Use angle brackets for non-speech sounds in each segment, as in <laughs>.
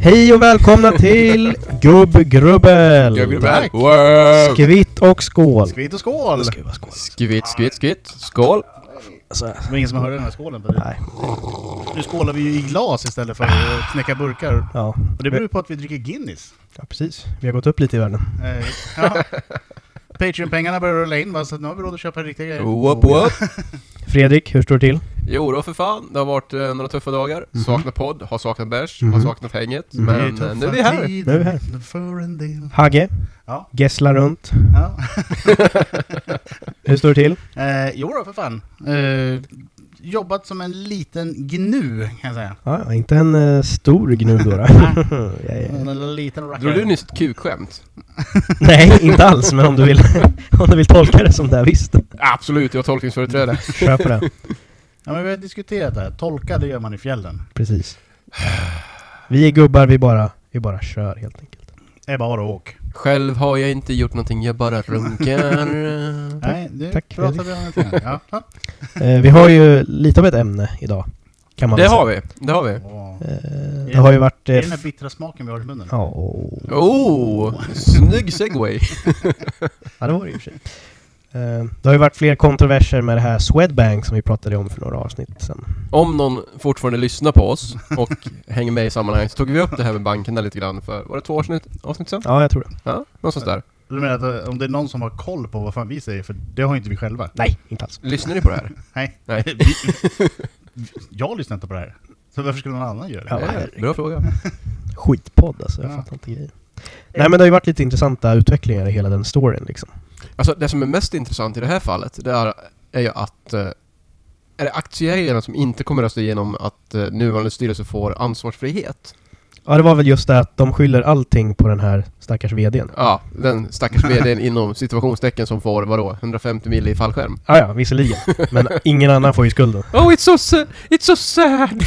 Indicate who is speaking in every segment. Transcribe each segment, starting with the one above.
Speaker 1: Hej och välkomna till Gubbgrubbel!
Speaker 2: Tack.
Speaker 3: Wow.
Speaker 1: Kvitt och skål!
Speaker 2: Skvitt och skål!
Speaker 1: skål.
Speaker 3: Skvitt, skvitt, skvitt. Skål.
Speaker 1: Så här.
Speaker 2: Det var ingen som hörde den här skålen. på det.
Speaker 1: Alltså, Nej,
Speaker 2: Nu skålar vi ju i glas istället för att knäcka burkar.
Speaker 1: ja.
Speaker 2: Och det beror på att vi dricker Guinness.
Speaker 1: ja. Precis, vi har gått upp lite i världen.
Speaker 2: Eh, ja. Patreon-pengarna börjar rulla in va, så nu har vi råd att köpa riktiga
Speaker 4: Eh,
Speaker 2: grejer.
Speaker 3: Whoop, whoop.
Speaker 1: Fredrik, hur står det till?
Speaker 4: Jo då för fan, det har varit eh, några tuffa dagar. Saknat podd, har saknat bärs,
Speaker 1: Mhm.
Speaker 4: har saknat hänget. Men eh, nu är vi här.
Speaker 1: Nu är vi här.
Speaker 2: För en del.
Speaker 1: Hagge?
Speaker 2: Ja.
Speaker 1: Gessla runt?
Speaker 2: Ja.
Speaker 1: Hur står det till?
Speaker 2: Eh, jo då, för fan. Eh, jobbat som en liten gnu, kan jag säga.
Speaker 1: Ja, ja, inte en eh, stor gnu då. <laughs> då. Ja, ja.
Speaker 2: En liten rackare.
Speaker 4: Drog du nyss ett kukskämt?
Speaker 1: Nej, inte alls, men om du vill, <laughs> om du vill tolka det som det, här, visst.
Speaker 4: Absolut, jag har tolkningsföreträde.
Speaker 1: Kör på det.
Speaker 2: Ja, men vi har diskuterat det här. Tolka, det gör man i fjällen.
Speaker 1: Precis. Vi är gubbar, vi bara, vi bara kör helt enkelt.
Speaker 2: Det är bara att åka.
Speaker 4: <laughs> Själv har jag inte gjort någonting, jag bara runkar. <laughs>
Speaker 2: Nej, det
Speaker 1: tack,
Speaker 2: pratar vi om lite grann. Ja. Ja.
Speaker 1: Eh, vi har ju lite av ett ämne idag, kan man
Speaker 4: Det
Speaker 1: väl säga.
Speaker 4: har vi, det har vi.
Speaker 2: Åh.
Speaker 1: Eh, det
Speaker 2: det-
Speaker 1: har ju varit...
Speaker 2: Det är
Speaker 1: eh,
Speaker 2: den här bittra smaken vi har i munnen.
Speaker 1: Ja, och-
Speaker 4: Oh, snygg segway.
Speaker 1: ja, det var det ju i och för sig. Eh, Det har ju varit fler kontroverser med det här Swedbank som vi pratade om för några avsnitt sedan.
Speaker 4: Om någon fortfarande lyssnar på oss och hänger med i sammanhanget så tog vi upp det här med bankerna lite grann för, var det två avsnitt, avsnitt sen?
Speaker 1: Ja, jag tror det.
Speaker 4: Ja, någonstans där.
Speaker 2: Du menar att eh, om det är någon som har koll på vad fan vi säger, för det har ju inte vi själva.
Speaker 1: Nej, inte alls.
Speaker 4: Lyssnar ni på det här?
Speaker 2: Nej.
Speaker 4: Nej.
Speaker 2: Vi, jag lyssnar inte på det här. Så varför skulle någon annan göra
Speaker 1: Ja,
Speaker 2: det?
Speaker 4: Eh,
Speaker 1: herregud.
Speaker 4: Bra fråga.
Speaker 1: Skitpodd alltså, jag
Speaker 2: Ja.
Speaker 1: fattar inte grejen. Nej men det har ju varit lite intressanta utvecklingar i hela den storyn liksom.
Speaker 4: Alltså det som är mest intressant i det här fallet, det är, är ju att eh, är det aktieägarna som inte kommer rösta igenom att eh, nuvarande styrelse får ansvarsfrihet?
Speaker 1: Ja det var väl just det att de skyller allting på den här stackars VDn.
Speaker 4: Ja, den stackars <laughs> VDn inom situationstecken som får, vadå, 150 mil i fallskärm?
Speaker 1: Ah, ja, visserligen. Men ingen annan får ju skulden.
Speaker 4: Oh, it's so, sa- it's so sad!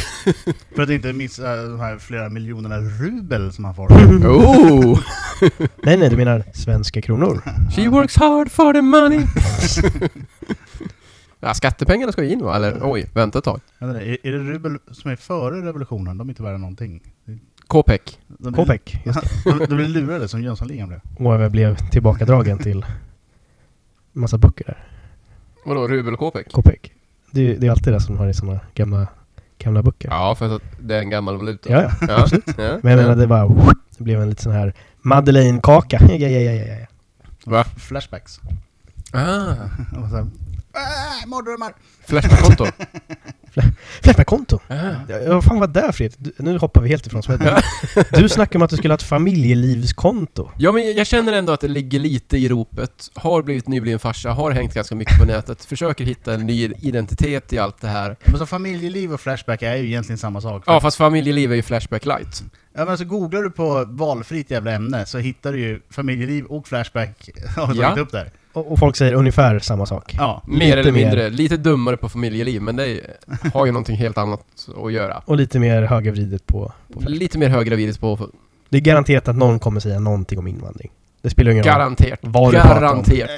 Speaker 2: För att inte missa eh, de här flera miljonerna rubel som
Speaker 1: <laughs>
Speaker 2: han får.
Speaker 4: Oh!
Speaker 1: Nej nej, du menar svenska
Speaker 2: <laughs>
Speaker 1: kronor?
Speaker 4: <laughs> She works hard for the money! ja, skattepengarna ska ju in va? Eller oj, vänta ett tag.
Speaker 2: Jag vet inte, Är, är det rubel som är före revolutionen? De är inte värda någonting.
Speaker 4: KPEC.
Speaker 2: De blir,
Speaker 1: Kopek, just det.
Speaker 2: <laughs> de, de blir lurade som Jönssonligan blev. <laughs>
Speaker 1: Och jag blev tillbakadragen till massa böcker där.
Speaker 4: Vadå, rubel E och KPEC?
Speaker 1: Kopek. Det, är- det är alltid det som har i såna gamla, gamla böcker.
Speaker 4: Ja, för att det är en gammal valuta.
Speaker 1: Ja, ja.
Speaker 4: ja. ja.
Speaker 1: Men jag menar, det bara... Det blev en lite sån här Madeleine-kaka. Ja, ja, ja, ja, ja.
Speaker 4: Va?
Speaker 2: Flashbacks.
Speaker 4: Ah,
Speaker 2: Och så här, "Ah, Mardrömmar!
Speaker 4: flashbackkonto.
Speaker 1: Flashback-konto.
Speaker 4: <laughs> Ah.
Speaker 1: Ja, Vad fan var det där, Fredrik? Du- Nu hoppar vi helt ifrån Swedbank. Du snackade om att du skulle ha ett familjelivskonto.
Speaker 4: Ja, men jag känner ändå att det ligger lite i ropet. Har blivit nybliven farsa, har hängt ganska mycket på nätet, försöker hitta en ny identitet i allt det här.
Speaker 2: Men så familjeliv och flashback är ju egentligen samma sak.
Speaker 4: Ja, fast familjeliv är ju Flashback light.
Speaker 2: Ja men alltså googlar du på valfritt jävla ämne så hittar du ju familjeliv och Flashback <laughs> har vi
Speaker 4: Ja.
Speaker 2: tagit upp där.
Speaker 1: Och, och folk säger ungefär samma sak.
Speaker 2: Ja.
Speaker 4: Mer
Speaker 1: Lite
Speaker 4: eller
Speaker 1: mer.
Speaker 4: mindre. Lite dummare på familjeliv, men det är, har ju någonting helt annat att göra.
Speaker 1: Och lite mer högervridet på... på Flashback.
Speaker 4: Lite mer högravidigt på...
Speaker 1: Det är garanterat att någon kommer säga någonting om invandring. Det spelar ingen roll.
Speaker 4: Garanterat.
Speaker 1: Vad du pratar om.
Speaker 4: Garanterat.
Speaker 2: Eh,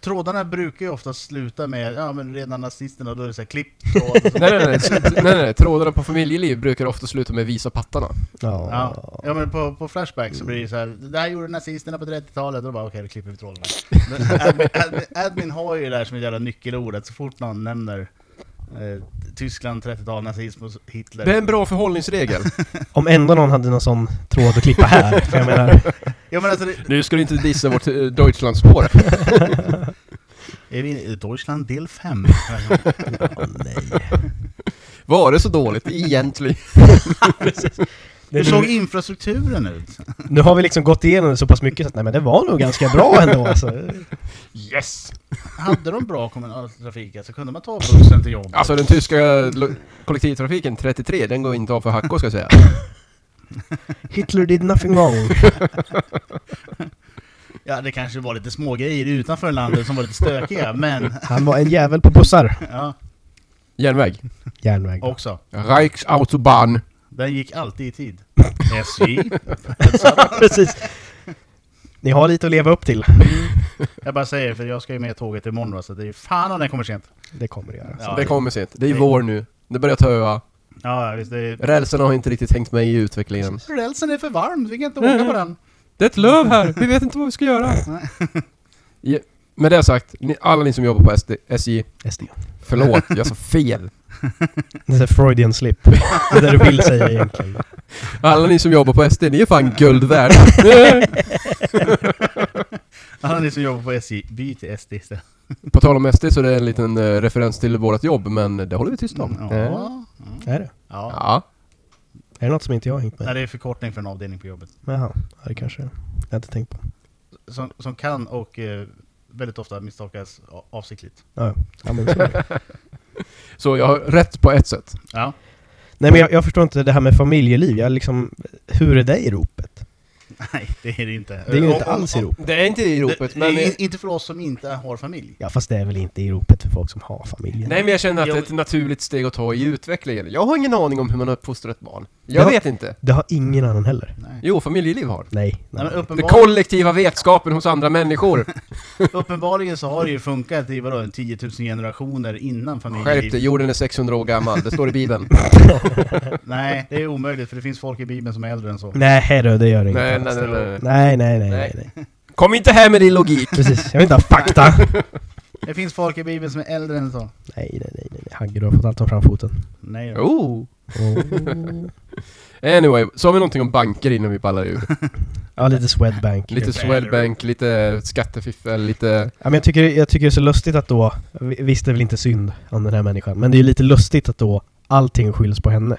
Speaker 2: Trådarna brukar ju ofta sluta med, ja men rena nazisterna, och då är det såhär klipp tråd.
Speaker 4: Nej, nej, nej. nej, nej, nej. Trådarna på familjeliv brukar ofta sluta med visa pattarna.
Speaker 1: Ja.
Speaker 2: Ja. ja men på, på Flashback så blir det så här. det där gjorde nazisterna på 30-talet, och då bara okej, då klipper vi trådarna. Men admin, admin, admin har ju det där som ett jävla nyckelord, att så fort någon nämner eh, Tyskland, 30-tal, nazism och Hitler.
Speaker 4: Det är en bra förhållningsregel.
Speaker 1: Om ändå någon hade någon sån tråd att klippa här. För jag
Speaker 4: <laughs>
Speaker 1: menar,
Speaker 2: Ja men alltså, det,
Speaker 4: Nu ska du inte dissa vårt eh, Deutschlandspår.
Speaker 2: är vi i Deutschland del 5?
Speaker 4: Var det så dåligt egentligen?
Speaker 2: Hur såg infrastrukturen ut?
Speaker 1: Nu har vi liksom gått igenom det så pass mycket så att nej men det var nog ganska bra <laughs> ändå alltså.
Speaker 4: <laughs> Yes!
Speaker 2: Hade de bra kommunaltrafik alltså, kunde man ta bussen till jobbet?
Speaker 4: Alltså den tyska lo- kollektivtrafiken 33, den går inte av för hackor ska jag säga.
Speaker 1: Hitler did nothing wrong.
Speaker 2: Ja, det kanske var lite smågrejer utanför landet som var lite stökiga, men <laughs>
Speaker 1: Han var en jävel på bussar.
Speaker 2: ja,
Speaker 4: Järnväg.
Speaker 1: Järnväg.
Speaker 2: också.
Speaker 4: Reichsautobahn.
Speaker 2: Den gick alltid i <laughs> tid. SJ.
Speaker 1: <laughs> Precis. Ni har lite att leva upp till.
Speaker 2: Jag bara säger, för jag ska ju med tåget imorgon va, så det är ju fan om den kommer sent.
Speaker 1: Det kommer det göra.
Speaker 2: Ja,
Speaker 4: det
Speaker 2: det-
Speaker 4: kommer sent. Det är vår nu. Det börjar töa.
Speaker 2: Ja, ja, visst. Det är...
Speaker 4: Rälsen har inte riktigt hängt med i utvecklingen.
Speaker 2: Rälsen är för varm, vi kan inte åka på <laughs> den.
Speaker 4: Det är ett löv här, vi vet inte vad vi ska göra. Ja, Med det sagt, ni, alla ni som jobbar på SD, SJ,
Speaker 1: SD.
Speaker 4: förlåt, jag sa fel.
Speaker 1: Det är Freudian slip. <laughs> Det är det du vill säga egentligen.
Speaker 4: Alla ni som jobbar på SD, ni är fan guld värda.
Speaker 2: Alla ni som jobbar på SJ, byt till SD istället.
Speaker 4: På tal om SD så är det en liten eh, referens till vårt jobb, men det håller vi tyst om. Eh,
Speaker 2: Mm, Ja.
Speaker 1: <laughs> Är det?
Speaker 2: ja.
Speaker 4: Ja.
Speaker 1: Är det något som inte jag har hängt
Speaker 2: Nej,
Speaker 1: med?
Speaker 2: det är förkortning för en avdelning på jobbet.
Speaker 1: Jaha, ja, det kanske jag har inte tänkt på.
Speaker 2: Som, som kan och eh, väldigt ofta misstolkas a- avsiktligt.
Speaker 1: Ja, ja. ja, men så är det.
Speaker 4: Så jag har rätt på ett sätt.
Speaker 2: Ja. <laughs>
Speaker 1: Nej men jag, jag förstår inte det här med familjeliv. Jag liksom, hur är det i ropet?
Speaker 2: Nej, det är det inte.
Speaker 1: Det är ju inte
Speaker 2: Om- om-
Speaker 1: alls i ropet.
Speaker 4: Det är inte i
Speaker 2: Det- det är in- Inte för oss som inte har familj.
Speaker 1: Ja fast det är väl inte i ropet för folk som har familj?
Speaker 4: Nej men jag känner att det är ett naturligt steg att ta i
Speaker 2: Mm.
Speaker 4: utvecklingen. Jag har ingen aning om hur man uppfostrar ett barn. Jag
Speaker 1: Ja.
Speaker 4: vet inte.
Speaker 1: Det har ingen annan heller.
Speaker 2: Nej.
Speaker 4: Jo, familjeliv har.
Speaker 1: Nej.
Speaker 2: Nej,
Speaker 1: nej.
Speaker 2: men
Speaker 4: Den
Speaker 2: uppenbar,
Speaker 4: kollektiva vetskapen hos andra människor.
Speaker 2: uppenbarligen så har det ju funkat i vadå, 10 000 generationer innan
Speaker 4: Skärp dig,
Speaker 2: familjeliv.
Speaker 4: jorden är 600 år gammal. Det står i
Speaker 2: <laughs>
Speaker 4: Bibeln.
Speaker 2: Nej, det är omöjligt för det finns folk i Bibeln som är äldre än så.
Speaker 1: Nej du, det gör det inte.
Speaker 4: Nej,
Speaker 1: Nej
Speaker 4: nej, nej, nej.
Speaker 1: nej nej, nej, nej, nej.
Speaker 4: Kom inte här med din logik!
Speaker 1: Precis, jag
Speaker 4: <laughs>
Speaker 1: vill inte ha fakta.
Speaker 2: Det finns folk i Bibeln som är äldre än så.
Speaker 1: Nej nej nej, nej. Hagge du har fått allt om framfoten.
Speaker 2: Nej då.
Speaker 4: Oh.
Speaker 1: Oh.
Speaker 4: Anyway, sa vi någonting om banker innan vi ballar ur?
Speaker 1: Ja lite Swedbank.
Speaker 4: Lite Swedbank, lite skattefiffel, lite...
Speaker 1: Ja, men jag, tycker, jag tycker det är så lustigt att då, vi- visst det är väl inte synd om den här människan, men det är ju lite lustigt att då allting skylls på henne.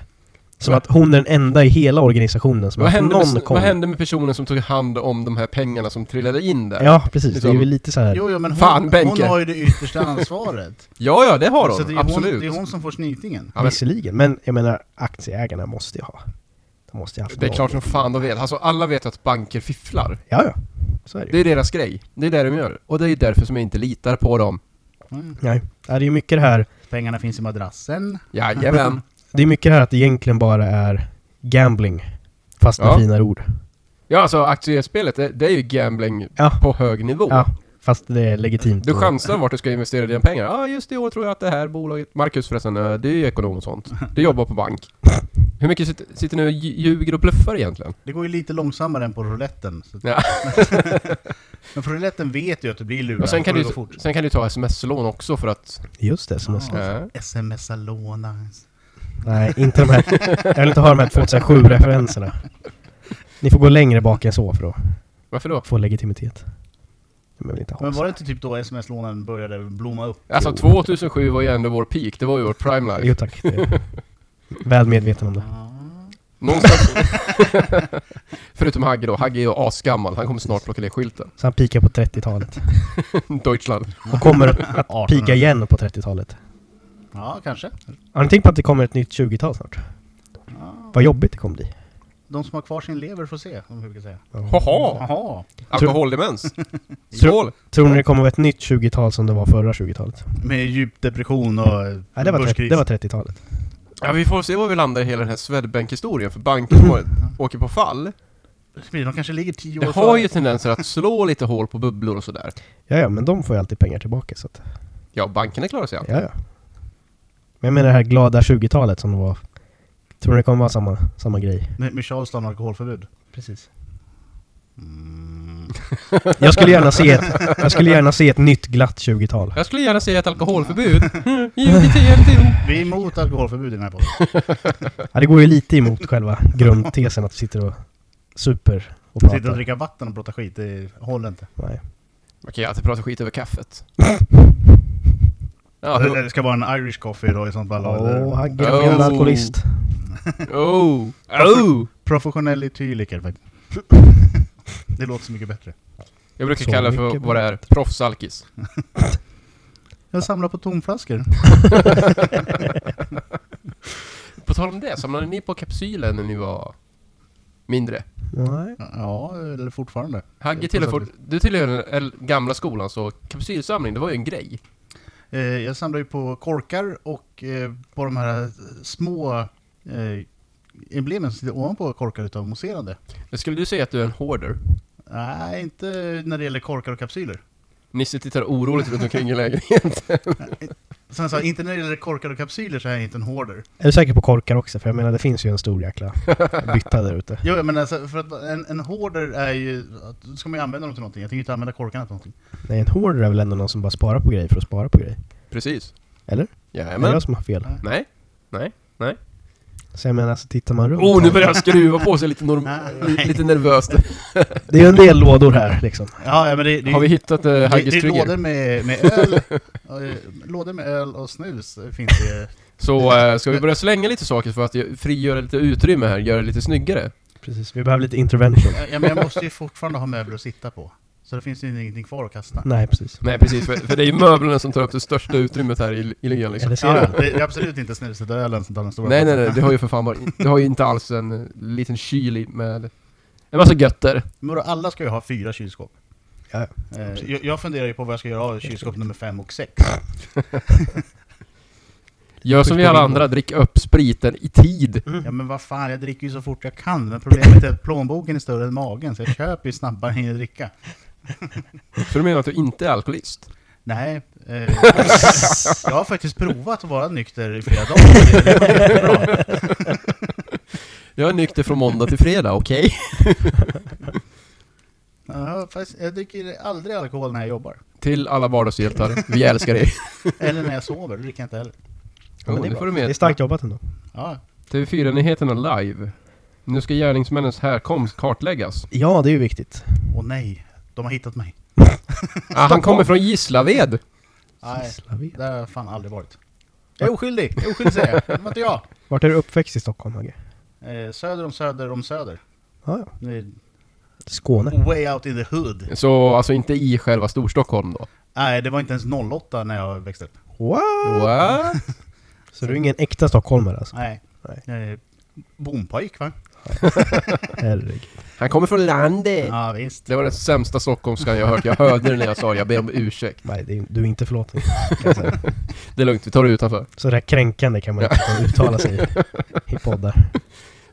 Speaker 1: Som
Speaker 4: Ja.
Speaker 1: att hon är den enda i hela organisationen som har
Speaker 4: Vad
Speaker 1: haft
Speaker 4: hände,
Speaker 1: någon
Speaker 4: med,
Speaker 1: koll.
Speaker 4: vad hände med personen som tog hand om de här pengarna som trillade in där? Ja,
Speaker 1: Ja, precis. Det är ju lite så här.
Speaker 2: Jo, jo, men hon,
Speaker 4: Fan,
Speaker 2: hon
Speaker 4: Benke.
Speaker 2: har ju det yttersta ansvaret.
Speaker 4: <laughs> ja, det har
Speaker 2: så
Speaker 4: de.
Speaker 2: det är, hon,
Speaker 4: absolut.
Speaker 2: det är hon som får snytningen.
Speaker 4: Ja, men,
Speaker 1: Visserligen, men jag menar aktieägarna måste ju ha. De måste ju ha haft
Speaker 4: det är
Speaker 1: någon.
Speaker 4: klart som fan de vet. Alltså, alla vet att banker fifflar.
Speaker 1: Ja, ja. Så är det
Speaker 4: Det
Speaker 1: ju.
Speaker 4: är deras grej. Det är det de gör. Och det är därför som jag inte litar på dem.
Speaker 2: Mm.
Speaker 1: Nej. Ja, det är ju mycket det här,
Speaker 2: Pengarna finns i madrassen.
Speaker 4: Jajamän.
Speaker 1: det är mycket det här att det egentligen bara är gambling. Fast med
Speaker 4: Ja.
Speaker 1: finare ord.
Speaker 4: Ja, alltså aktiespelet, det, det är ju gambling
Speaker 1: Ja.
Speaker 4: på hög nivå.
Speaker 1: Ja, fast det är legitimt.
Speaker 4: Oh. Du
Speaker 1: och-
Speaker 4: chansar vart du ska investera dina pengar. Ja, ah, just i år tror jag att det här bolaget... Marcus förresten, eh, det är ju ekonom och sånt. Du jobbar på bank. Hur mycket sitter, sitter ni och lj- ljuger och bluffar egentligen?
Speaker 2: Det går ju lite långsammare än på rouletten. Så.
Speaker 4: Ja.
Speaker 2: <laughs> Men för rouletten vet ju att du blir lurad.
Speaker 4: Och sen kan,
Speaker 2: Får
Speaker 4: du,
Speaker 2: gå fort.
Speaker 4: sen kan du ta sms-lån också för att...
Speaker 1: Just det, som jag sa.
Speaker 4: eh,
Speaker 2: Smsa låna.
Speaker 1: Nej, inte de här. Jag vill inte ha de här 2007-referenserna. Ni får gå längre bak än så för att
Speaker 4: varför då?
Speaker 1: få legitimitet. Jag vill inte ha
Speaker 2: Men
Speaker 1: så.
Speaker 2: var det inte typ då sms-lånen började blomma upp?
Speaker 4: Alltså 2007 var ju ändå vår peak, det var ju vår prime
Speaker 1: Jo
Speaker 4: life.
Speaker 1: tack. Det är... Väl medveten om det.
Speaker 4: Någonstans... <laughs> Förutom Hagge då. Hagge är ju asgammal, han kommer snart plocka ner skylten. <laughs>
Speaker 1: Så han pikar på 30-talet.
Speaker 4: Deutschland.
Speaker 1: Och kommer att
Speaker 2: 1800.
Speaker 1: pika igen på 30-talet.
Speaker 2: Ja, kanske.
Speaker 1: Har ni tänkt på att det kommer ett nytt 20-tal snart? Vad jobbigt det kommer bli.
Speaker 2: De som har kvar sin lever får se, om vi brukar säga.
Speaker 4: Haha!
Speaker 2: Jaha,
Speaker 4: Alkoholdemens!
Speaker 1: Tror,
Speaker 4: Skål!
Speaker 1: tror ni det kommer vara ett nytt 20-tal som det var förra 20-talet?
Speaker 2: med djup depression och eh,
Speaker 1: Nej, det var, 30,
Speaker 2: börskris.
Speaker 1: det var 30-talet.
Speaker 4: Ja, vi får se var vi landar i hela den här Swedbank-historien, för banken var- åker på fall.
Speaker 2: De kanske ligger tio år
Speaker 4: Det har ju
Speaker 2: före.
Speaker 4: tendenser att slå lite hål på bubblor och sådär.
Speaker 1: Ja, ja, men de får ju alltid pengar tillbaka så att,
Speaker 4: Ja, bankerna klarar sig alltid.
Speaker 1: ja, ja. Men jag menar det här glada 20-talet som det var. Tror ni det kommer vara samma, samma grej?
Speaker 2: Med, med Charleston och alkoholförbud.
Speaker 1: Precis.
Speaker 2: Mm.
Speaker 1: Jag skulle gärna se ett, jag skulle gärna se ett nytt glatt 20-tal.
Speaker 4: Jag skulle gärna säga ett <laughs> alkoholförbud. JVTM.
Speaker 2: Vi är emot alkoholförbud i den
Speaker 1: <laughs>
Speaker 2: här podden.
Speaker 1: Ja, det går ju lite emot själva grundtesen att vi sitter och super och
Speaker 2: Sitta och
Speaker 1: pratar.
Speaker 2: dricka vatten och prata skit, det håller inte.
Speaker 1: Nej.
Speaker 4: Okej, att jag pratar skit över <laughs> kaffet. oh. Ja,
Speaker 2: Det
Speaker 4: hur- <laughs>
Speaker 2: det ska vara en Irish coffee då i sånt fall.
Speaker 1: Åh,
Speaker 2: eller
Speaker 1: Hagge, oh.
Speaker 4: Oh.
Speaker 1: jävla alkoholist.
Speaker 4: oh, oh.
Speaker 2: Professionell etyliker
Speaker 1: <laughs>
Speaker 2: faktiskt. Det låter så mycket bättre.
Speaker 4: Jag brukar
Speaker 1: Så
Speaker 4: kalla det för
Speaker 1: mycket
Speaker 4: vad det är, proffsalkis.
Speaker 2: Jag samlar på tomflaskor.
Speaker 4: På tal om det, samlade ni på kapsylen när ni var mindre?
Speaker 1: Nej.
Speaker 2: Ja, eller fortfarande.
Speaker 4: Hagge
Speaker 2: På
Speaker 4: tillhör,
Speaker 2: sätt och
Speaker 4: du tillhör den äl- gamla skolan, så kapsylsamling, det var ju en grej.
Speaker 2: Eh, Jag samlar ju på korkar och eh, på de här eh, små eh, emblemen som sitter ovanpå korkar utav mousserande.
Speaker 4: Skulle du säga att du är en hoarder?
Speaker 2: Nej, inte när det gäller korkar och kapsyler.
Speaker 1: <laughs>
Speaker 4: Nisse tittar oroligt runt omkring i lägenheten.
Speaker 2: Sen sa jag, inte när det gäller korkar och kapsyler så är jag inte en hoarder.
Speaker 1: Är du säker på korkar också? För jag menar, det finns ju en stor jäkla bytta där ute.
Speaker 2: Jo, men alltså, för att en, en hoarder är ju... att- Då ska man ju använda dem till någonting. Jag tänker inte använda korkarna till någonting.
Speaker 1: Nej, en hoarder är väl ändå någon som bara sparar på grejer för att spara på grejer?
Speaker 4: Precis.
Speaker 1: Eller? Är det
Speaker 4: Jajamän.
Speaker 1: jag som har fel?
Speaker 4: Nej. Nej. Nej.
Speaker 1: Så jag menar, så tittar man runt
Speaker 4: Oh, nu
Speaker 1: här-
Speaker 4: börjar han skruva på sig lite, norm-
Speaker 2: Nej.
Speaker 4: li- lite nervöst.
Speaker 1: Det är ju en del lådor här liksom.
Speaker 2: Ja, ja men det, det,
Speaker 4: Har vi hittat uh,
Speaker 2: det, det
Speaker 4: Haggis
Speaker 2: är lådor
Speaker 4: trigger?
Speaker 2: med, med öl. och, eh, lådor med öl och snus eh, finns det ju.
Speaker 4: Så eh, ska vi börja slänga lite saker för att ju- frigöra lite utrymme här, göra det lite snyggare?
Speaker 1: Precis, vi behöver lite intervention.
Speaker 2: Ja, men jag måste ju fortfarande ha möbler att sitta på. Så det finns ju ingenting kvar att kasta.
Speaker 1: Nej, precis.
Speaker 4: Nej precis, för, för det är ju möblerna som tar upp det största utrymmet här i, i lyggan liksom.
Speaker 1: Eller ser
Speaker 2: Ja,
Speaker 1: du?
Speaker 2: ja, det är absolut inte snuset och ölen som tar den stora
Speaker 4: Nej nej
Speaker 2: platsen.
Speaker 4: nej, det har ju för fan <laughs> bara, det har ju inte alls en eh, liten kyl i med en massa götter.
Speaker 2: Men då, alla ska ju ha fyra kylskåp.
Speaker 1: Ja,
Speaker 2: Eh, jag, jag funderar ju på vad jag ska göra av kylskåp nummer fem och sex.
Speaker 4: Gör som vi alla andra, drick upp spriten i tid.
Speaker 2: Ja men vad fan, jag dricker ju så fort jag kan. Men problemet är att plånboken är större än magen, så jag köper ju snabbare än jag hinner dricka.
Speaker 4: Så du menar att du inte är <laughs> alkoholist?
Speaker 2: Nej, eh, jag har faktiskt provat att vara nykter i flera dagar. Det är väldigt bra.
Speaker 4: Jag är nykter från måndag till fredag, okej?
Speaker 2: Ja, fast jag dricker aldrig alkohol när jag jobbar.
Speaker 4: Till alla vardagshjältar, vi älskar er.
Speaker 2: Eller när jag sover, det dricker jag inte heller.
Speaker 1: Ja, men
Speaker 4: det
Speaker 1: bra.
Speaker 4: får du
Speaker 1: det
Speaker 4: med.
Speaker 1: är starkt jobbat ändå.
Speaker 2: Ja,
Speaker 4: TV4-nyheterna live. Nu ska gärningsmännens härkomst kartläggas.
Speaker 1: Ja, det är ju viktigt.
Speaker 2: och nej, de har hittat mig.
Speaker 4: Ah, han kommer från Gislaved!
Speaker 2: Nej,
Speaker 1: Gislaved.
Speaker 2: där har jag fan aldrig varit. Jag är oskyldig, jag är oskyldig säger jag. Det var inte jag.
Speaker 1: Vart är du uppväxt i Stockholm, Hagge?
Speaker 2: Eh, söder om söder om söder.
Speaker 1: Ja, ja.
Speaker 2: Det är
Speaker 1: Skåne.
Speaker 2: Way out in the hood.
Speaker 4: Så alltså inte i själva Storstockholm då?
Speaker 2: Nej, det var inte ens 08 när jag växte upp.
Speaker 1: Wow!
Speaker 4: What?
Speaker 1: Så du är ingen äkta stockholmare alltså?
Speaker 2: Nej. Eh, Bompojk va?
Speaker 1: Herregud.
Speaker 4: Han kommer från landet!
Speaker 2: Ja visst.
Speaker 4: Det var den sämsta stockholmskan jag hört, jag hörde det när jag sa det. jag ber om ursäkt.
Speaker 1: Nej, det är, du är inte förlåten. kan jag säga.
Speaker 4: Det är lugnt, vi tar det utanför.
Speaker 1: Så där kränkande kan man inte uttala sig i- i poddar.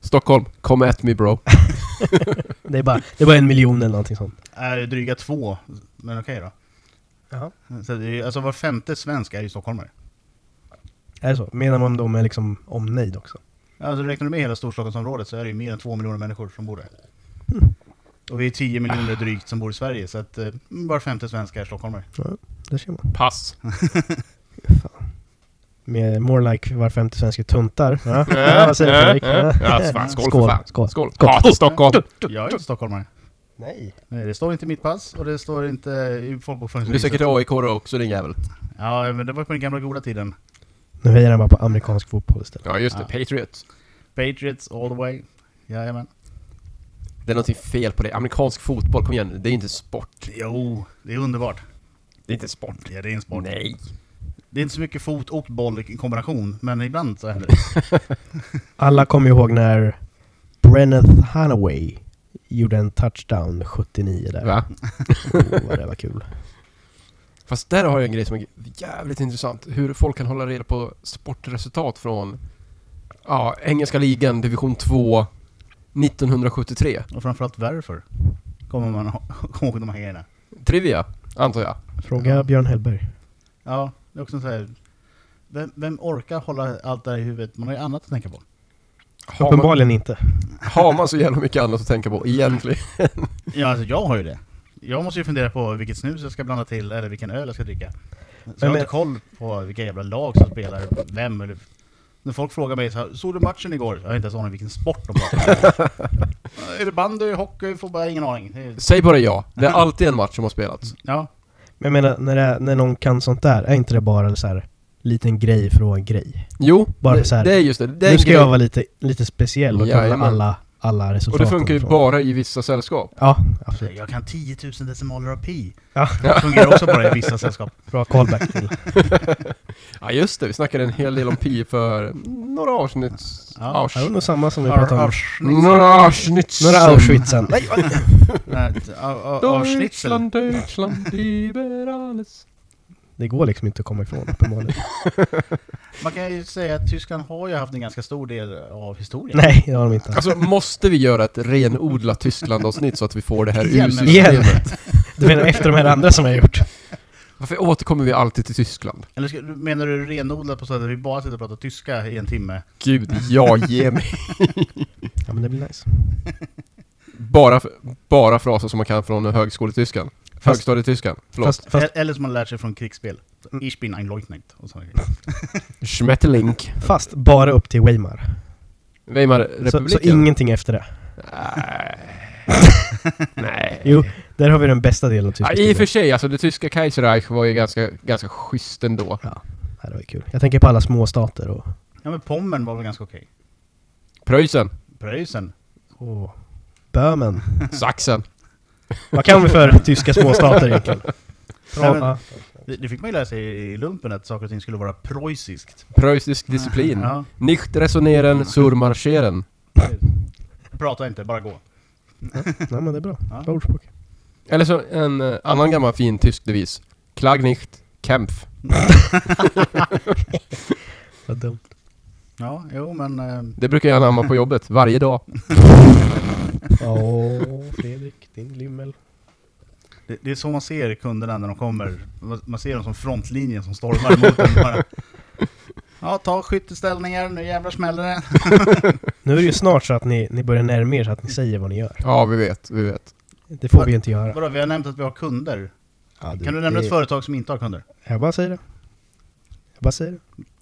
Speaker 4: Stockholm, come at me bro.
Speaker 1: Det är, bara, det är bara en miljon eller någonting sånt.
Speaker 2: Är dryga två, men okej
Speaker 1: Jaha.
Speaker 2: då. Så det är, alltså var femte svensk är ju stockholmare.
Speaker 1: Är det så? Menar man då med liksom omnejd också?
Speaker 2: Alltså räknar du med hela Storstockholmsområdet så är det ju mer än två miljoner människor som bor där. Och vi är 10 miljoner drygt som bor i Sverige, så att eh, var femte svensk är stockholmare.
Speaker 1: Där ser man.
Speaker 4: Pass.
Speaker 1: Med more like var femte svensk är tuntar. <laughs> Ja, ja vad säger du Fredrik? Ja.
Speaker 4: Ja, fan, skål,
Speaker 1: Skål,
Speaker 4: för fan.
Speaker 1: skål,
Speaker 4: skål.
Speaker 1: skål.
Speaker 4: Hatar Stockholm.
Speaker 2: Jag är inte stockholmare.
Speaker 1: Nej.
Speaker 2: Nej, det står inte i mitt pass och det står inte i
Speaker 4: Du är säkert
Speaker 2: folkbokföringsregistret.
Speaker 4: AIK också din jävel.
Speaker 2: Ja, men det var på den gamla goda tiden.
Speaker 1: Nu hejar han bara på amerikansk fotboll istället.
Speaker 4: Ja just det,
Speaker 2: Ja.
Speaker 4: Patriots.
Speaker 2: Patriots all the way. Jajamän.
Speaker 4: Det är någonting fel på det. Amerikansk fotboll, kom igen nu. Det är inte sport.
Speaker 2: Jo, det är underbart.
Speaker 4: Det är inte sport.
Speaker 2: Ja, det är en sport.
Speaker 1: Mm.
Speaker 4: Nej.
Speaker 2: Det är inte så mycket fot och boll i kombination, men ibland så händer det.
Speaker 1: Alla kommer ju ihåg när Brenneth Hanaway gjorde en touchdown 79 där.
Speaker 4: Va?
Speaker 1: Oh, vad det var kul.
Speaker 4: Fast där har jag en grej som är jävligt intressant. Hur folk kan hålla reda på sportresultat från ja, engelska ligan, division 2, 1973.
Speaker 2: Och framförallt varför kommer man ha- <laughs> ihåg de här grejerna.
Speaker 4: Trivia, antar jag.
Speaker 1: Fråga Björn Hellberg.
Speaker 2: Ja, det är också så här. Vem, vem orkar hålla allt det här i huvudet? Man har ju annat att tänka på.
Speaker 4: Har man,
Speaker 1: Uppenbarligen inte.
Speaker 4: har man så jävla mycket annat att tänka på egentligen?
Speaker 2: Ja, alltså jag har ju det. Jag måste ju fundera på vilket snus jag ska blanda till, eller vilken öl jag ska dricka. Så jag
Speaker 1: Men-
Speaker 2: har inte koll på vilka jävla lag som spelar, vem eller... När folk frågar mig så här, såg du matchen igår? Jag har inte ens aning vilken sport de pratar om. Är det bandy, hockey? Får bara ingen aning. Det är-
Speaker 4: Säg bara ja. Det är alltid en match som har spelats.
Speaker 2: Ja,
Speaker 1: Men jag menar, när, det är, när någon kan sånt där, är inte det bara en så här liten grej för att vara en grej?
Speaker 4: Jo,
Speaker 1: Bara
Speaker 4: det,
Speaker 1: så här.
Speaker 4: det är just det. det är
Speaker 1: Nu
Speaker 4: en
Speaker 1: ska
Speaker 4: grej.
Speaker 1: jag vara lite, lite speciell och kolla
Speaker 4: Jajamän.
Speaker 1: alla, alla
Speaker 4: Och
Speaker 1: resultat.
Speaker 4: det funkar ju
Speaker 1: därifrån.
Speaker 4: bara i vissa sällskap.
Speaker 1: Ja, absolut.
Speaker 2: jag kan 10 000 decimaler av pi.
Speaker 1: Ja.
Speaker 2: Det fungerar också bara i vissa sällskap.
Speaker 1: Bra callback till.
Speaker 4: Ja just det, vi snackade en hel del om pi för några avsnitt.
Speaker 2: Ja.
Speaker 4: Avs-
Speaker 1: Ja, det var nog samma som vi pratade om.
Speaker 2: Auschwitz.
Speaker 4: Några avsnitt.
Speaker 1: Några Auschwitzen. Nej,
Speaker 2: Auschwitz.
Speaker 1: <laughs>
Speaker 4: Deutschland, Deutschland, liberales.
Speaker 1: det går liksom inte att komma ifrån
Speaker 4: <laughs>
Speaker 1: uppenbarligen.
Speaker 2: Man kan ju säga att Tyskland har ju haft en ganska stor del av historien.
Speaker 1: Nej, det har de <laughs> inte.
Speaker 4: Alltså måste vi göra ett renodlat Tyskland-avsnitt så att vi får det här ur
Speaker 2: Igen.
Speaker 4: systemet?
Speaker 1: Igen! Du menar efter de här andra som jag har gjort?
Speaker 4: Varför återkommer vi alltid till Tyskland?
Speaker 2: Eller ska, menar du renodlat på så att vi bara sitter och pratar tyska i en timme?
Speaker 4: Gud, ja ge mig.
Speaker 1: Ja men det blir nice.
Speaker 4: Bara, bara fraser som man kan från högskoletyskan. Högstadietyskan. Förlåt.
Speaker 1: Fast, fast,
Speaker 2: E- Eller som man lär sig från krigsspel. Så, Ich bin ein Leutnant och sådana grejer.
Speaker 4: Schmetterling.
Speaker 1: fast bara upp till Weimar. Så,
Speaker 4: Weimarrepubliken.
Speaker 1: så ingenting efter det.
Speaker 4: Nej.
Speaker 1: Jo, där har vi den bästa delen av tyska
Speaker 4: Eh. Ja, I och för
Speaker 1: historien.
Speaker 4: sig, alltså det tyska Kaiserreich var ju ganska, ganska schysst ändå.
Speaker 1: Ja, det var ju kul. Jag tänker på alla små stater och...
Speaker 2: Ja men Pommern var väl ganska okej?
Speaker 4: Preussen,
Speaker 2: Preussen?
Speaker 1: och Böhmen.
Speaker 4: Sachsen.
Speaker 1: Vad kan vi
Speaker 4: <laughs>
Speaker 1: för tyska småstater egentligen?
Speaker 2: Nej, men-
Speaker 1: Ja,
Speaker 2: Det, det fick man ju lära sig i lumpen att saker och ting skulle vara preussiskt.
Speaker 4: Preussisk disciplin.
Speaker 2: <laughs> Ja.
Speaker 4: Nicht resoneren zur marscheren.
Speaker 2: Prata inte, bara gå.
Speaker 1: nej men det är bra.
Speaker 2: Ja.
Speaker 1: Bra ordspråk.
Speaker 4: Eller så en eh, annan gammal fin tysk devis. Klag nicht, kämpf.
Speaker 1: Vad dumt.
Speaker 2: Ja, jo men... eh,
Speaker 4: Det brukar jag anamma på jobbet varje dag.
Speaker 1: Åh, Fredrik, din limmel.
Speaker 2: Det, det är så man ser kunderna när de kommer. Man- Man ser dem som frontlinjen som stormar emot en bara. <laughs> Ja, ta skytteställningar, nu jävlar smäller det.
Speaker 1: Nu är det ju snart så att ni, ni börjar närma er så att ni säger vad ni gör.
Speaker 4: Ja, vi vet, vi vet.
Speaker 1: Det får vi ju inte göra.
Speaker 2: Vadå, vi har nämnt att vi har kunder.
Speaker 1: Ja,
Speaker 2: Kan du nämna ett företag som inte har kunder?
Speaker 1: Jag bara säger det. Jag bara säger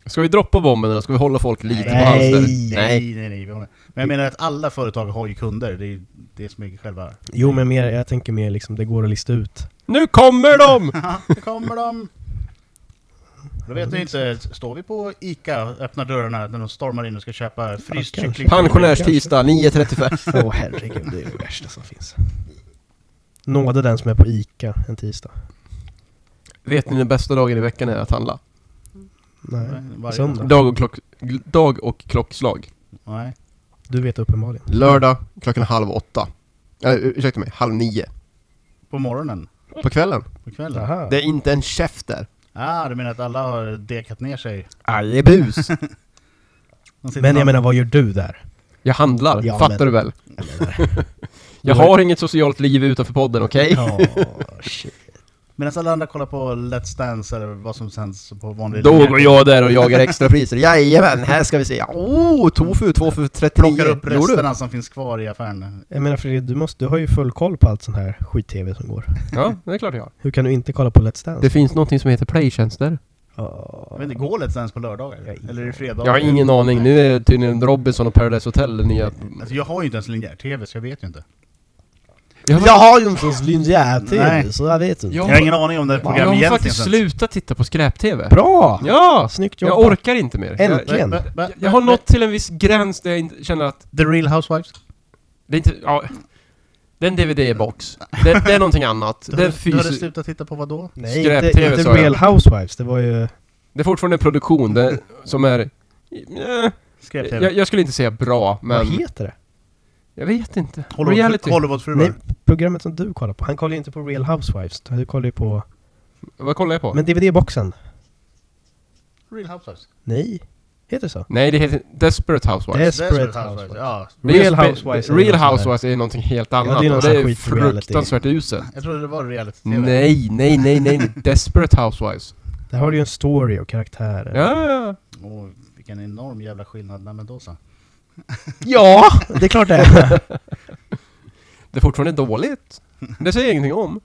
Speaker 1: det.
Speaker 4: Ska vi droppa bomben eller ska vi hålla folk lite på
Speaker 1: Nej.
Speaker 4: halster?
Speaker 2: nej, nej, nej. vi håller- Men jag menar att alla företag har ju kunder. Det är ju det som är själva...
Speaker 1: Jo, men mer, jag tänker mer liksom, det går att lista ut.
Speaker 4: Nu kommer de!
Speaker 2: Haha, nu kommer de! Då vet ni inte, står vi på ICA och öppnar dörrarna när de stormar in och ska köpa fryst
Speaker 1: kanske.
Speaker 2: kyckling?
Speaker 4: Pensionärstisdag 9.35.
Speaker 1: <laughs> Åh herregud, det är det värsta som finns. Nåde den som är på ICA en tisdag.
Speaker 4: Vet ni den bästa dagen i veckan är att handla?
Speaker 1: Nej,
Speaker 2: varje-
Speaker 1: söndag.
Speaker 4: Dag och, klock, dag och klockslag.
Speaker 2: Nej.
Speaker 1: Du vet uppenbarligen.
Speaker 4: Lördag klockan halv åtta. Eller ursäkta mig, halv nio.
Speaker 2: På morgonen?
Speaker 4: På kvällen.
Speaker 2: På kvällen?
Speaker 1: Aha.
Speaker 4: Det är inte en chef där.
Speaker 2: Ah, du menar att alla har dekat ner sig?
Speaker 4: Ajebus!
Speaker 2: De sitter
Speaker 1: Men jag
Speaker 2: någon-
Speaker 1: menar, vad gör du där?
Speaker 4: Jag handlar,
Speaker 1: Ja,
Speaker 4: fattar
Speaker 1: men-
Speaker 4: du väl?
Speaker 1: Jag
Speaker 4: Jag
Speaker 1: har
Speaker 4: har inget socialt liv utanför podden, okej?
Speaker 1: Ja, shit.
Speaker 2: Medan alla andra kollar på Let's Dance eller vad som sänds på vanlig
Speaker 4: Då går jag där och jagar extrapriser. Jajamän, här ska vi se. Oh, tofu, 2 för 39.
Speaker 2: Plockar upp
Speaker 4: Jo du.
Speaker 2: resterna som finns kvar i affären.
Speaker 1: Jag menar Fredrik, du, måste, du har ju full koll på allt sån här skit-tv som går.
Speaker 4: Ja, det är klart jag har.
Speaker 1: Hur kan du inte kolla på Let's Dance?
Speaker 4: Det finns någonting som heter playtjänster.
Speaker 1: Ja.
Speaker 2: Men det går Let's Dance på lördagar? Eller är det fredagar?
Speaker 4: Jag har ingen aning. Nu är det tydligen Robinson och Paradise Hotel, det nya...
Speaker 2: Alltså, jag har ju inte ens linjär-tv så jag vet ju inte.
Speaker 1: Jag har ju inte ens linjär-tv,
Speaker 2: Nej.
Speaker 1: så jag vet inte.
Speaker 4: Ja.
Speaker 2: Jag har ingen aning om det här
Speaker 4: Jag
Speaker 2: programmet
Speaker 4: har
Speaker 2: egentligen
Speaker 4: faktiskt slutat titta på skräp-tv.
Speaker 1: Bra!
Speaker 4: Ja!
Speaker 1: Snyggt
Speaker 4: Jag
Speaker 1: jobbat.
Speaker 4: orkar inte mer. Jag,
Speaker 1: Äntligen.
Speaker 2: Va- va- va-
Speaker 4: jag, jag har nått till en viss gräns där jag inte känner att
Speaker 2: The Real Housewives?
Speaker 4: Det är inte, ja. Det är en DVD-box. Det, det är någonting annat.
Speaker 2: Du
Speaker 4: Det är
Speaker 2: hade, du hade
Speaker 4: fysisk...
Speaker 2: slutat titta på vad då?
Speaker 1: Nej, inte,
Speaker 4: Skräp-tv,
Speaker 1: inte
Speaker 4: sa jag.
Speaker 1: Real Housewives, det var ju...
Speaker 4: Det är fortfarande en produktion det, som är... Eh,
Speaker 2: Skräp-tv?
Speaker 4: jag, jag skulle inte säga bra,
Speaker 1: Vad
Speaker 4: men...
Speaker 1: heter det?
Speaker 4: Jag vet inte.
Speaker 2: Hollywood-
Speaker 4: Reality.
Speaker 2: Hollywoodfruar?
Speaker 1: Nej, programmet som du kollar på. Han kollar ju inte på Real Housewives. Du kollar ju på...
Speaker 4: Vad kollar jag på?
Speaker 1: Men DVD-boxen?
Speaker 2: Real Housewives?
Speaker 1: Nej. Heter det så?
Speaker 4: Nej, det heter Desperate Housewives.
Speaker 1: Desperate Housewives.
Speaker 2: Ja.
Speaker 4: Det är
Speaker 1: Real
Speaker 4: spe-
Speaker 1: Housewives eller något
Speaker 4: Real
Speaker 1: sånt där.
Speaker 4: Housewives är någonting helt annat.
Speaker 1: det är någon
Speaker 4: och
Speaker 1: sån
Speaker 4: det är
Speaker 1: skit reality.
Speaker 4: fruktansvärt uselt.
Speaker 2: Jag trodde det var reality-tv.
Speaker 4: Nej, nej, nej,
Speaker 1: <laughs>
Speaker 4: nej. nej. Desperate Housewives.
Speaker 1: Där har du ju en story och karaktärer.
Speaker 4: Ja, ja, ja.
Speaker 2: Åh, vilken enorm jävla skillnad. Nej men då så.
Speaker 1: ja! Det är klart det
Speaker 4: <laughs>
Speaker 1: är.
Speaker 4: Det är fortfarande dåligt. Det säger jag ingenting om.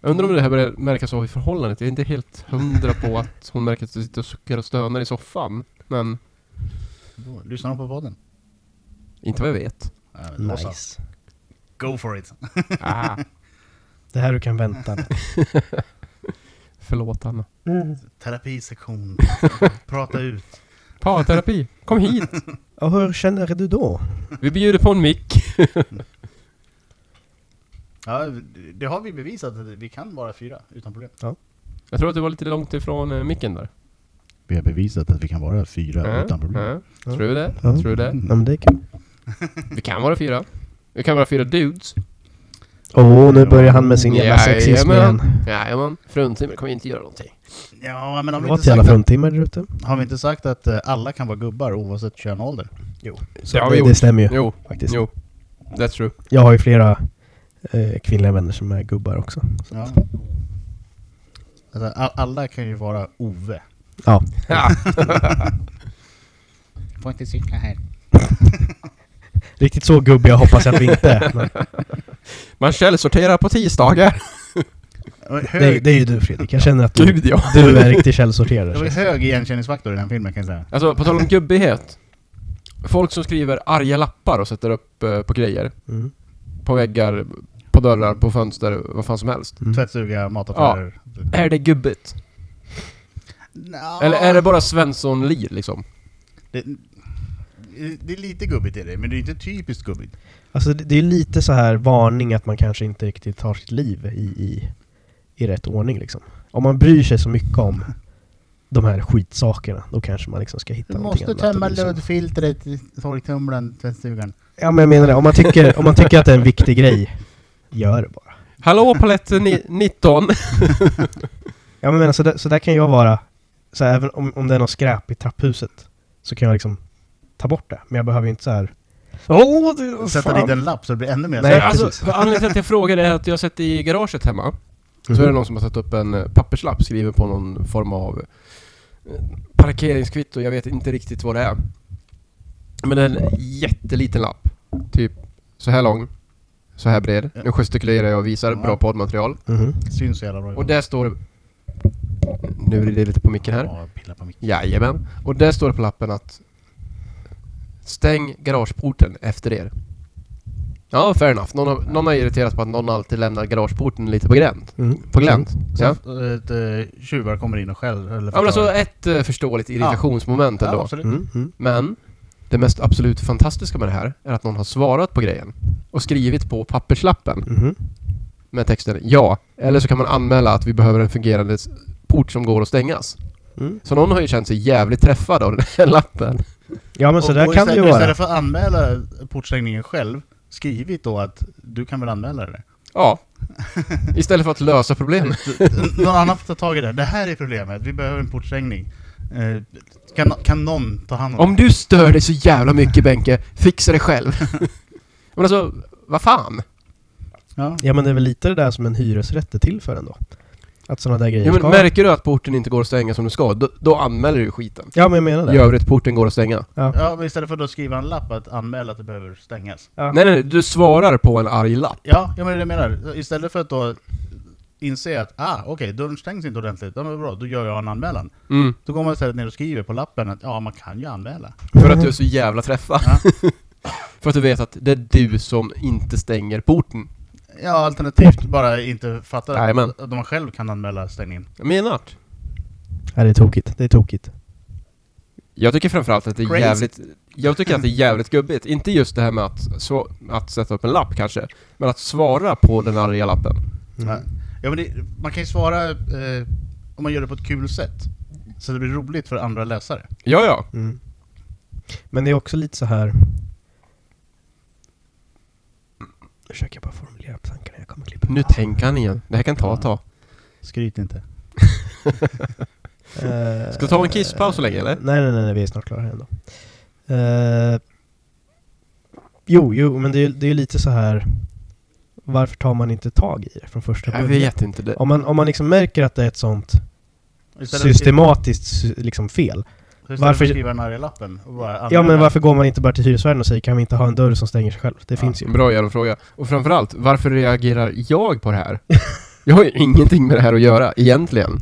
Speaker 4: Jag undrar om det här börjar märkas av i förhållandet. Jag är inte helt hundra på att hon märker att jag sitter och suckar och stönar i soffan. Men
Speaker 2: Då- Lyssnar de på podden?
Speaker 4: inte vad jag vet.
Speaker 2: Ja, men då så.
Speaker 1: nice.
Speaker 2: Go for it!
Speaker 4: Ah,
Speaker 1: Det här du kan
Speaker 4: <laughs>
Speaker 1: vänta.
Speaker 4: förlåt Anna.
Speaker 1: Mm.
Speaker 2: <laughs> Terapisektion. Prata ut.
Speaker 4: Parterapi, kom hit!
Speaker 1: Och hur känner du då?
Speaker 4: Vi bjuder på en mick.
Speaker 2: Ja, det har vi bevisat. att Vi kan vara fyra utan problem.
Speaker 4: Jag tror att du var lite långt ifrån eh, micken där.
Speaker 2: Vi har bevisat att vi kan vara fyra
Speaker 4: Mm, mm. Tror du det?
Speaker 1: Ja.
Speaker 4: Tror du det?
Speaker 1: Ja, men det är kul.
Speaker 4: Vi kan vara fyra. Vi kan vara fyra dudes.
Speaker 1: Åh, oh, nu börjar han med sin jävla sexism
Speaker 4: Jajamän.
Speaker 1: igen.
Speaker 4: Jajamän. Fruntimmer kommer inte göra någonting.
Speaker 2: Ja, men har vi,
Speaker 1: Vad
Speaker 2: inte
Speaker 1: till alla
Speaker 2: sagt att,
Speaker 1: fruntimmer där ute.
Speaker 2: har vi inte sagt att eh, alla kan vara gubbar oavsett kön och ålder?
Speaker 1: Så
Speaker 4: Det har vi
Speaker 1: det,
Speaker 4: gjort.
Speaker 1: det stämmer ju
Speaker 4: Jo,
Speaker 1: faktiskt.
Speaker 4: jo. That's true.
Speaker 1: Jag har ju flera eh, kvinnliga vänner som är gubbar också.
Speaker 2: Ja. Alltså, a- alla kan ju vara Ove.
Speaker 1: Ja.
Speaker 2: Får inte cykla här.
Speaker 1: Riktigt så gubbiga hoppas jag att vi inte
Speaker 4: <laughs>
Speaker 1: är. men
Speaker 4: Man källsorterar på <laughs> tisdagar.
Speaker 1: det, är-
Speaker 2: Hög,
Speaker 1: det är ju du Fredrik, jag känner att du,
Speaker 4: Gud <laughs> ja.
Speaker 1: du är riktig
Speaker 2: det var ju
Speaker 1: källsorterare.
Speaker 2: hög igenkänningsfaktor i den filmen kan jag säga.
Speaker 4: Alltså på tal om gubbighet. Folk som skriver arga lappar och sätter upp eh, på grejer.
Speaker 1: Mm.
Speaker 4: På väggar, på dörrar, på fönster, vad fan som helst.
Speaker 1: Mm.
Speaker 2: Tvättstuga, mataffärer.
Speaker 4: Är det gubbigt?
Speaker 2: Nja,
Speaker 4: Eller är det bara Svensson-lir liksom?
Speaker 2: det... Det är lite gubbigt i det, men det är inte typiskt gubbigt.
Speaker 1: Alltså det, det är ju lite så här varning att man kanske inte riktigt tar sitt liv i, i, i rätt ordning liksom. Om man bryr sig så mycket om de här skitsakerna, då kanske man liksom ska hitta
Speaker 2: Du
Speaker 1: någonting
Speaker 2: måste
Speaker 1: annat att
Speaker 2: tömma
Speaker 4: liksom.
Speaker 1: bry sig om.
Speaker 2: luddfiltret i torktumlaren, tvättstugan.
Speaker 1: Ja men jag menar det, om man tycker, om man tycker att det är en viktig grej, gör det bara.
Speaker 4: Hallå palett ni- 19!
Speaker 1: Ja men jag menar, så där, så där kan jag vara, så här, även om, om det är något skräp i trapphuset, så kan jag liksom ta bort det. Men jag behöver ju inte så här. Åh, det,
Speaker 2: Sätta
Speaker 1: fan."
Speaker 2: dit en lapp så det blir ännu mer
Speaker 1: Nej,
Speaker 2: Nej.
Speaker 4: alltså,
Speaker 1: precis.
Speaker 4: anledningen till att jag frågar är att jag har sett i garaget hemma. Så
Speaker 1: Mm-hmm.
Speaker 4: är det någon som har satt upp en eh, papperslapp skriven på någon form av eh, parkeringskvitto. Jag vet inte riktigt vad det är. Men en jätteliten lapp. Typ så här lång. Så här bred. Nu gestikulerar jag och visar
Speaker 2: Ja.
Speaker 4: bra poddmaterial.
Speaker 1: Mhm.
Speaker 2: Syns så jävla bra.
Speaker 4: Och där står det... Nu blir det lite på micken här.
Speaker 2: Ja, pilla på micken.
Speaker 4: Jajamän. Och där står det på lappen att Stäng garageporten efter er. Ja, fair enough. Någon har, någon har irriterat på att någon alltid lämnar garageporten lite på gränt.
Speaker 1: Mm.
Speaker 4: På glänt.
Speaker 2: Så
Speaker 4: Ja.
Speaker 2: att eh, tjuvar kommer in och skäller eller
Speaker 4: Ja men alltså
Speaker 2: förstör.
Speaker 4: ett eh, förståeligt irritationsmoment
Speaker 2: Ja,
Speaker 4: ändå.
Speaker 2: absolut.
Speaker 1: Mm. Mm.
Speaker 4: men det mest absolut fantastiska med det här är att någon har svarat på grejen och skrivit på papperslappen
Speaker 1: Mhm.
Speaker 4: med texten ja. Eller så kan man anmäla att vi behöver en fungerande s- port som går att stängas.
Speaker 1: Mm.
Speaker 4: Så någon har ju känt sig jävligt träffad av den här <laughs> lappen.
Speaker 1: Ja men
Speaker 2: Och-
Speaker 1: så där
Speaker 2: och
Speaker 1: kan det ju
Speaker 2: istället-
Speaker 1: vara.
Speaker 2: Istället för att anmäla portstängningen själv, skrivit då att du kan väl
Speaker 1: <laughs>
Speaker 2: anmäla det? <laughs>
Speaker 4: Ja. Istället för att lösa problemet.
Speaker 2: Någon annan får ta tag i det. här. Det här är problemet, vi behöver en portstängning. Eh, Kan, kan någon ta hand om,
Speaker 4: Om du stör dig så jävla mycket Benke, fixa det själv.
Speaker 2: <laughs>
Speaker 4: Men alltså, vad fan?
Speaker 2: det? Ja.
Speaker 1: Ja men det är väl lite det där som en hyresrätt är till för ändå. Att sådana där grejer
Speaker 4: Ja, men
Speaker 1: ska...
Speaker 4: märker du att porten inte går att stänga som du ska, då, då anmäler du skiten.
Speaker 1: ja men jag menar det.
Speaker 4: I övrigt, porten går att stänga.
Speaker 2: ja, men istället för att då skriva en lapp att anmäla att det behöver stängas.
Speaker 1: Ja.
Speaker 4: Nej, nej, nej, du svarar på en arg lapp.
Speaker 2: Ja, ja men det är det jag menar. Istället för att då inse att ah, okej, dörren stängs inte ordentligt, ja, men bra, då gör jag en anmälan.
Speaker 4: Mm.
Speaker 2: Då går man istället ner och skriver på lappen att ja, man kan ju anmäla.
Speaker 4: För att du är så jävla träffad.
Speaker 2: Ja.
Speaker 4: <laughs> för att du vet att det är du som inte stänger porten.
Speaker 2: Ja, alternativt bara inte fattar
Speaker 4: Jajamän.
Speaker 2: att, att man själv kan anmäla stängningen.
Speaker 4: Jag menar det.
Speaker 1: Ja, det är tokigt. Det är tokigt.
Speaker 4: Jag tycker framförallt att det är
Speaker 2: Crazy.
Speaker 4: jävligt... Jag tycker att det är jävligt gubbigt. Inte just det här med att, sva- att sätta upp en lapp kanske, men att svara på den arga lappen.
Speaker 1: Mm,
Speaker 2: Ja. Ja, men det, man kan ju svara eh, om man gör det på ett kul sätt. Så det blir roligt för andra läsare.
Speaker 4: Ja, ja.
Speaker 1: Mm. Men det är också lite så här... Nu försöker jag bara formulera på tankarna. Jag kommer klippa.
Speaker 4: Nu tänker han igen. Det här kan ta ett tag.
Speaker 2: Skryt inte.
Speaker 1: Eh,
Speaker 4: Ska vi ta en kisspaus så länge, eller?
Speaker 1: Nej, nej, nej, nej, vi är snart klara här ändå. Eh, jo, jo, men det är, det är lite så här... Varför tar man inte tag i det från första
Speaker 4: Jag
Speaker 1: början?
Speaker 4: vet inte. Det.
Speaker 1: Om man, om man liksom märker att det är ett sånt
Speaker 2: istället
Speaker 1: systematiskt sy- liksom fel.
Speaker 2: varför... för
Speaker 1: varför-
Speaker 2: att skriva den här i lappen och bara anmäla.
Speaker 1: Ja men varför går man inte bara till hyresvärden och säger kan vi inte ha en dörr som stänger sig själv? Det
Speaker 2: Ja.
Speaker 1: finns ju.
Speaker 4: Bra jävla fråga. Och framförallt, varför reagerar jag på det här? Jag har ju ingenting med det här att göra, egentligen.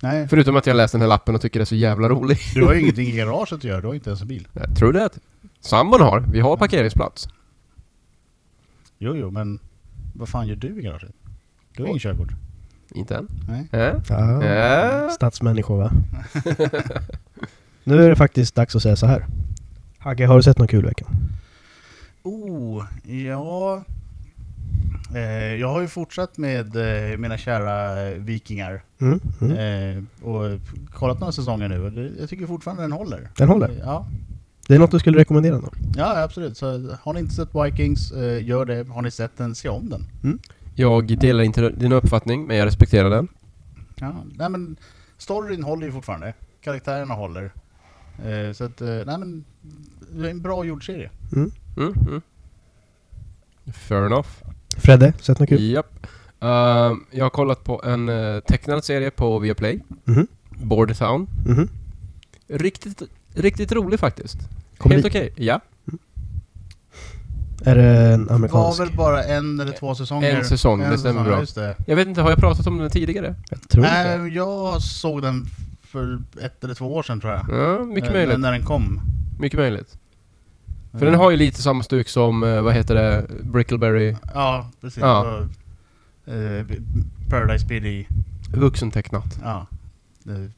Speaker 2: Nej,
Speaker 4: Förutom att jag läste den här lappen och tycker det är så jävla roligt.
Speaker 2: du har ju ingenting i garaget att göra, du har inte ens en bil.
Speaker 4: Jag Eh, tror det att sambon har. Vi har parkeringsplats.
Speaker 2: Jo, jo, men vad fan gör du i garaget? Du har ingen körkort.
Speaker 4: Inte än.
Speaker 2: Nej.
Speaker 4: Äh?
Speaker 1: Ja.
Speaker 4: Äh?
Speaker 1: Ah, Stadsmänniskor <laughs> va? nu är det faktiskt dags att säga så här. Hagge, har du sett något kul i veckan?
Speaker 2: Oh, ja... Eh, jag har ju fortsatt med eh, mina kära eh, vikingar.
Speaker 1: Mm? Mm?
Speaker 2: Eh, och kollat några säsonger nu och det, jag tycker fortfarande den håller.
Speaker 1: Den håller?
Speaker 2: Ja,
Speaker 1: Det är något du skulle rekommendera då?
Speaker 2: ja absolut. Så har ni inte sett Vikings, eh, gör det. Har ni sett den, se om den.
Speaker 4: Jag delar inte din uppfattning, men jag respekterar den.
Speaker 2: Ja, nej men storyn håller ju fortfarande. Karaktärerna håller. Eh, så att, eh, nej men det är en bra gjord serie.
Speaker 1: Mm?
Speaker 4: Mm, mm. Fair enough.
Speaker 1: Fredde, sett något kul?
Speaker 4: Japp. Eh, jag har kollat på en eh, tecknad serie på Viaplay.
Speaker 1: Mhm.
Speaker 4: Bordertown.
Speaker 1: Mhm.
Speaker 4: Riktigt, riktigt rolig faktiskt.
Speaker 1: Komedi.
Speaker 4: Helt okej. Ja.
Speaker 1: Är det en
Speaker 2: Det var
Speaker 1: amerikansk?
Speaker 2: väl bara en eller två säsonger?
Speaker 4: En säsong, det stämmer
Speaker 2: säsong,
Speaker 4: bra.
Speaker 2: Just det.
Speaker 4: Jag vet inte, har jag pratat om den tidigare?
Speaker 1: Jag tror inte.
Speaker 2: Nej, jag såg den för ett eller två år sedan tror jag.
Speaker 4: Ja, mycket
Speaker 2: Eh,
Speaker 4: möjligt.
Speaker 2: När den kom.
Speaker 4: Mycket möjligt.
Speaker 1: Mm.
Speaker 4: För den har ju lite samma stuk som, eh, vad heter det, Brickleberry
Speaker 2: Ja, precis.
Speaker 4: Ja.
Speaker 2: Och, eh, Paradise PD.
Speaker 4: vuxentecknat.
Speaker 2: Ja. Eh,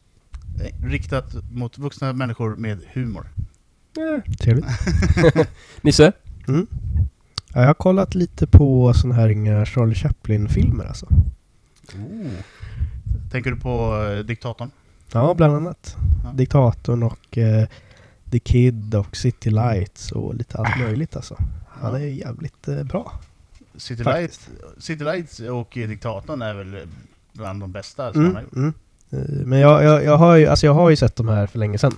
Speaker 2: Riktat mot vuxna människor med humor.
Speaker 4: Eh,
Speaker 1: Trevligt.
Speaker 4: Nisse?
Speaker 1: Ja, jag har kollat lite på såna här inga Charlie Chaplin-filmer alltså.
Speaker 2: Tänker du på eh, Diktatorn?
Speaker 1: Ja, bland annat.
Speaker 2: Ja.
Speaker 1: Diktatorn och eh, The Kid och City Lights och lite
Speaker 2: Ah.
Speaker 1: allt möjligt alltså. Han är jävligt eh, bra.
Speaker 2: City,
Speaker 1: Faktiskt.
Speaker 2: Lights, City Lights och Diktatorn är väl bland de bästa som han
Speaker 1: Mm,
Speaker 2: har gjort.
Speaker 1: mm. Eh, Men jag, jag, jag, har ju, alltså jag har ju sett de här för länge sedan.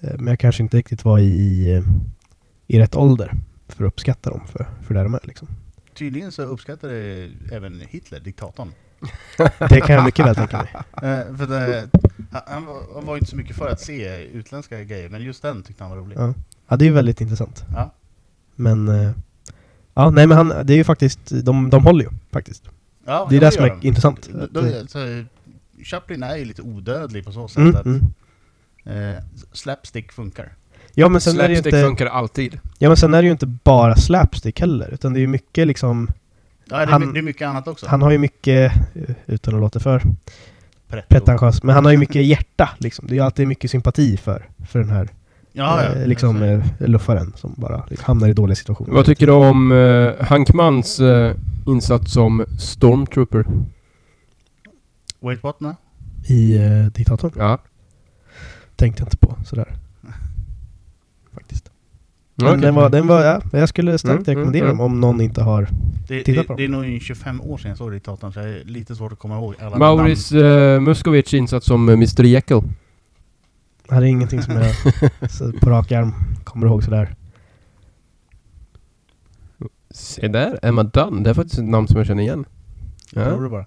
Speaker 1: Eh, Men jag kanske inte riktigt var i, i, eh, i rätt ålder för att uppskatta dem för, för där de är liksom.
Speaker 2: Tydligen så uppskattade även Hitler Diktatorn.
Speaker 1: Det kan jag mycket väl tänka
Speaker 2: <laughs>
Speaker 1: mig.
Speaker 2: Eh, för det, han- han, var, han var inte så mycket för att se utländska grejer, men just den tyckte han var rolig.
Speaker 1: Ja. Ja, det är ju väldigt intressant.
Speaker 2: Ja.
Speaker 1: Men... eh, Ja, nej men han, det är ju faktiskt, de, de håller ju faktiskt.
Speaker 2: Ja,
Speaker 1: Det är
Speaker 2: ja,
Speaker 1: det som
Speaker 2: gör
Speaker 1: är
Speaker 2: han.
Speaker 1: intressant.
Speaker 2: Då-
Speaker 1: Att,
Speaker 2: då
Speaker 1: eh,
Speaker 2: är- så, Chaplin är ju lite odödlig på så sätt
Speaker 1: Mm,
Speaker 2: att
Speaker 1: mm.
Speaker 2: eh, slapstick funkar.
Speaker 1: Ja men sen är det ju
Speaker 4: Slapstick
Speaker 1: inte,
Speaker 4: funkar alltid.
Speaker 1: ja, men sen är det ju inte bara slapstick heller, utan det är ju mycket liksom,
Speaker 2: Ja, det, är
Speaker 1: Han-
Speaker 2: my- det är mycket annat också.
Speaker 1: han har ju mycket, eh, utan att låta för
Speaker 2: Pretto.
Speaker 1: pretentiös, men han har ju mycket hjärta liksom. Det är ju alltid mycket sympati för, för den här
Speaker 2: Ja, ja.
Speaker 1: eh, liksom,
Speaker 2: Alltså,
Speaker 1: eh, luffaren som bara liksom, hamnar i dåliga situationer.
Speaker 4: Vad tycker du om eh, Hankmans eh, insats som stormtrooper?
Speaker 1: eh,
Speaker 2: Wait what nu?
Speaker 1: I eh, Diktatorn?
Speaker 4: Ja.
Speaker 1: Tänkte jag inte på sådär. Faktiskt. Men
Speaker 4: Okej.
Speaker 1: den var, den var, ja, jag skulle
Speaker 4: Mm,
Speaker 1: starkt
Speaker 4: mm,
Speaker 1: rekommendera
Speaker 4: mm.
Speaker 1: dem om någon inte har...
Speaker 2: Det,
Speaker 1: Titta
Speaker 2: det,
Speaker 1: på dem.
Speaker 2: det är nog i 25 år sedan jag såg Diktatorn, så jag är lite svårt att komma ihåg alla namn.
Speaker 4: Maurice eh, Muskovic insats som eh, Mr Jekyll.
Speaker 1: Det här är ingenting som
Speaker 4: <laughs>
Speaker 1: jag så, på rak arm kommer ihåg sådär.
Speaker 4: Se där, Emma Dunn. Det är faktiskt ett namn som jag känner igen.
Speaker 2: Jag
Speaker 4: Ja.
Speaker 2: tror det bara.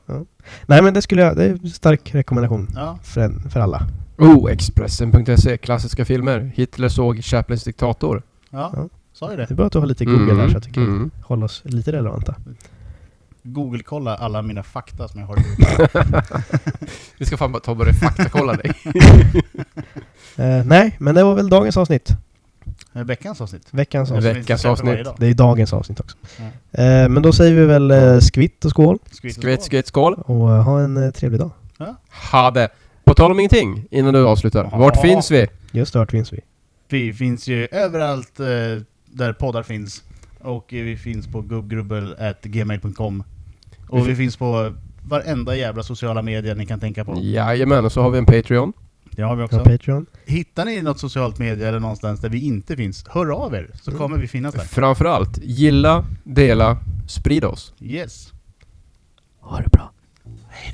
Speaker 1: Nej men det skulle jag, det är en stark rekommendation
Speaker 2: Ja.
Speaker 1: för, en, för alla.
Speaker 4: Oh, Expressen.se. Klassiska filmer. Hitler såg Chaplins diktator.
Speaker 2: Ja,
Speaker 1: Ja.
Speaker 2: sa ju
Speaker 1: Det
Speaker 2: det.
Speaker 1: är bra att du har lite Google där så jag tycker
Speaker 4: <laughs> mm.
Speaker 1: hålla oss lite relevanta.
Speaker 2: Google-kolla alla mina fakta som
Speaker 1: <laughs>
Speaker 2: jag har. Eh, i-
Speaker 4: Vi ska fan bara ta och börja faktakolla <laughs> dig.
Speaker 1: Eh, nej, men det var väl dagens avsnitt.
Speaker 2: Eh, Veckans avsnitt.
Speaker 1: Veckans avsnitt.
Speaker 2: Som vi
Speaker 4: Veckans
Speaker 2: släpper
Speaker 4: avsnitt.
Speaker 2: varje dag.
Speaker 1: Det är dagens avsnitt också. Eh, men då säger vi väl eh, skvitt och skål
Speaker 2: Skvitt och
Speaker 4: Skvätt,
Speaker 2: skål.
Speaker 4: skvätt, skål.
Speaker 1: och eh, ha en eh, trevlig dag.
Speaker 4: Ha det. På tal om ingenting, innan du avslutar. Vart
Speaker 2: Ja.
Speaker 4: finns vi?
Speaker 1: Just det, vart finns vi?
Speaker 2: Vi finns ju överallt eh, där poddar finns. Och eh, vi finns på gubbgrubbel.gmail.com. Och vi finns på varenda jävla sociala medier ni kan tänka på.
Speaker 4: Jajamän, och så har vi en Patreon.
Speaker 2: Det har vi också.
Speaker 1: Ja, Patreon.
Speaker 2: Hittar ni något socialt media eller någonstans där vi inte finns, hör av er så
Speaker 1: Mm.
Speaker 2: kommer vi finnas där.
Speaker 4: Framförallt, gilla, dela, sprid oss.
Speaker 2: Yes.
Speaker 1: Ha det bra.
Speaker 2: Hej.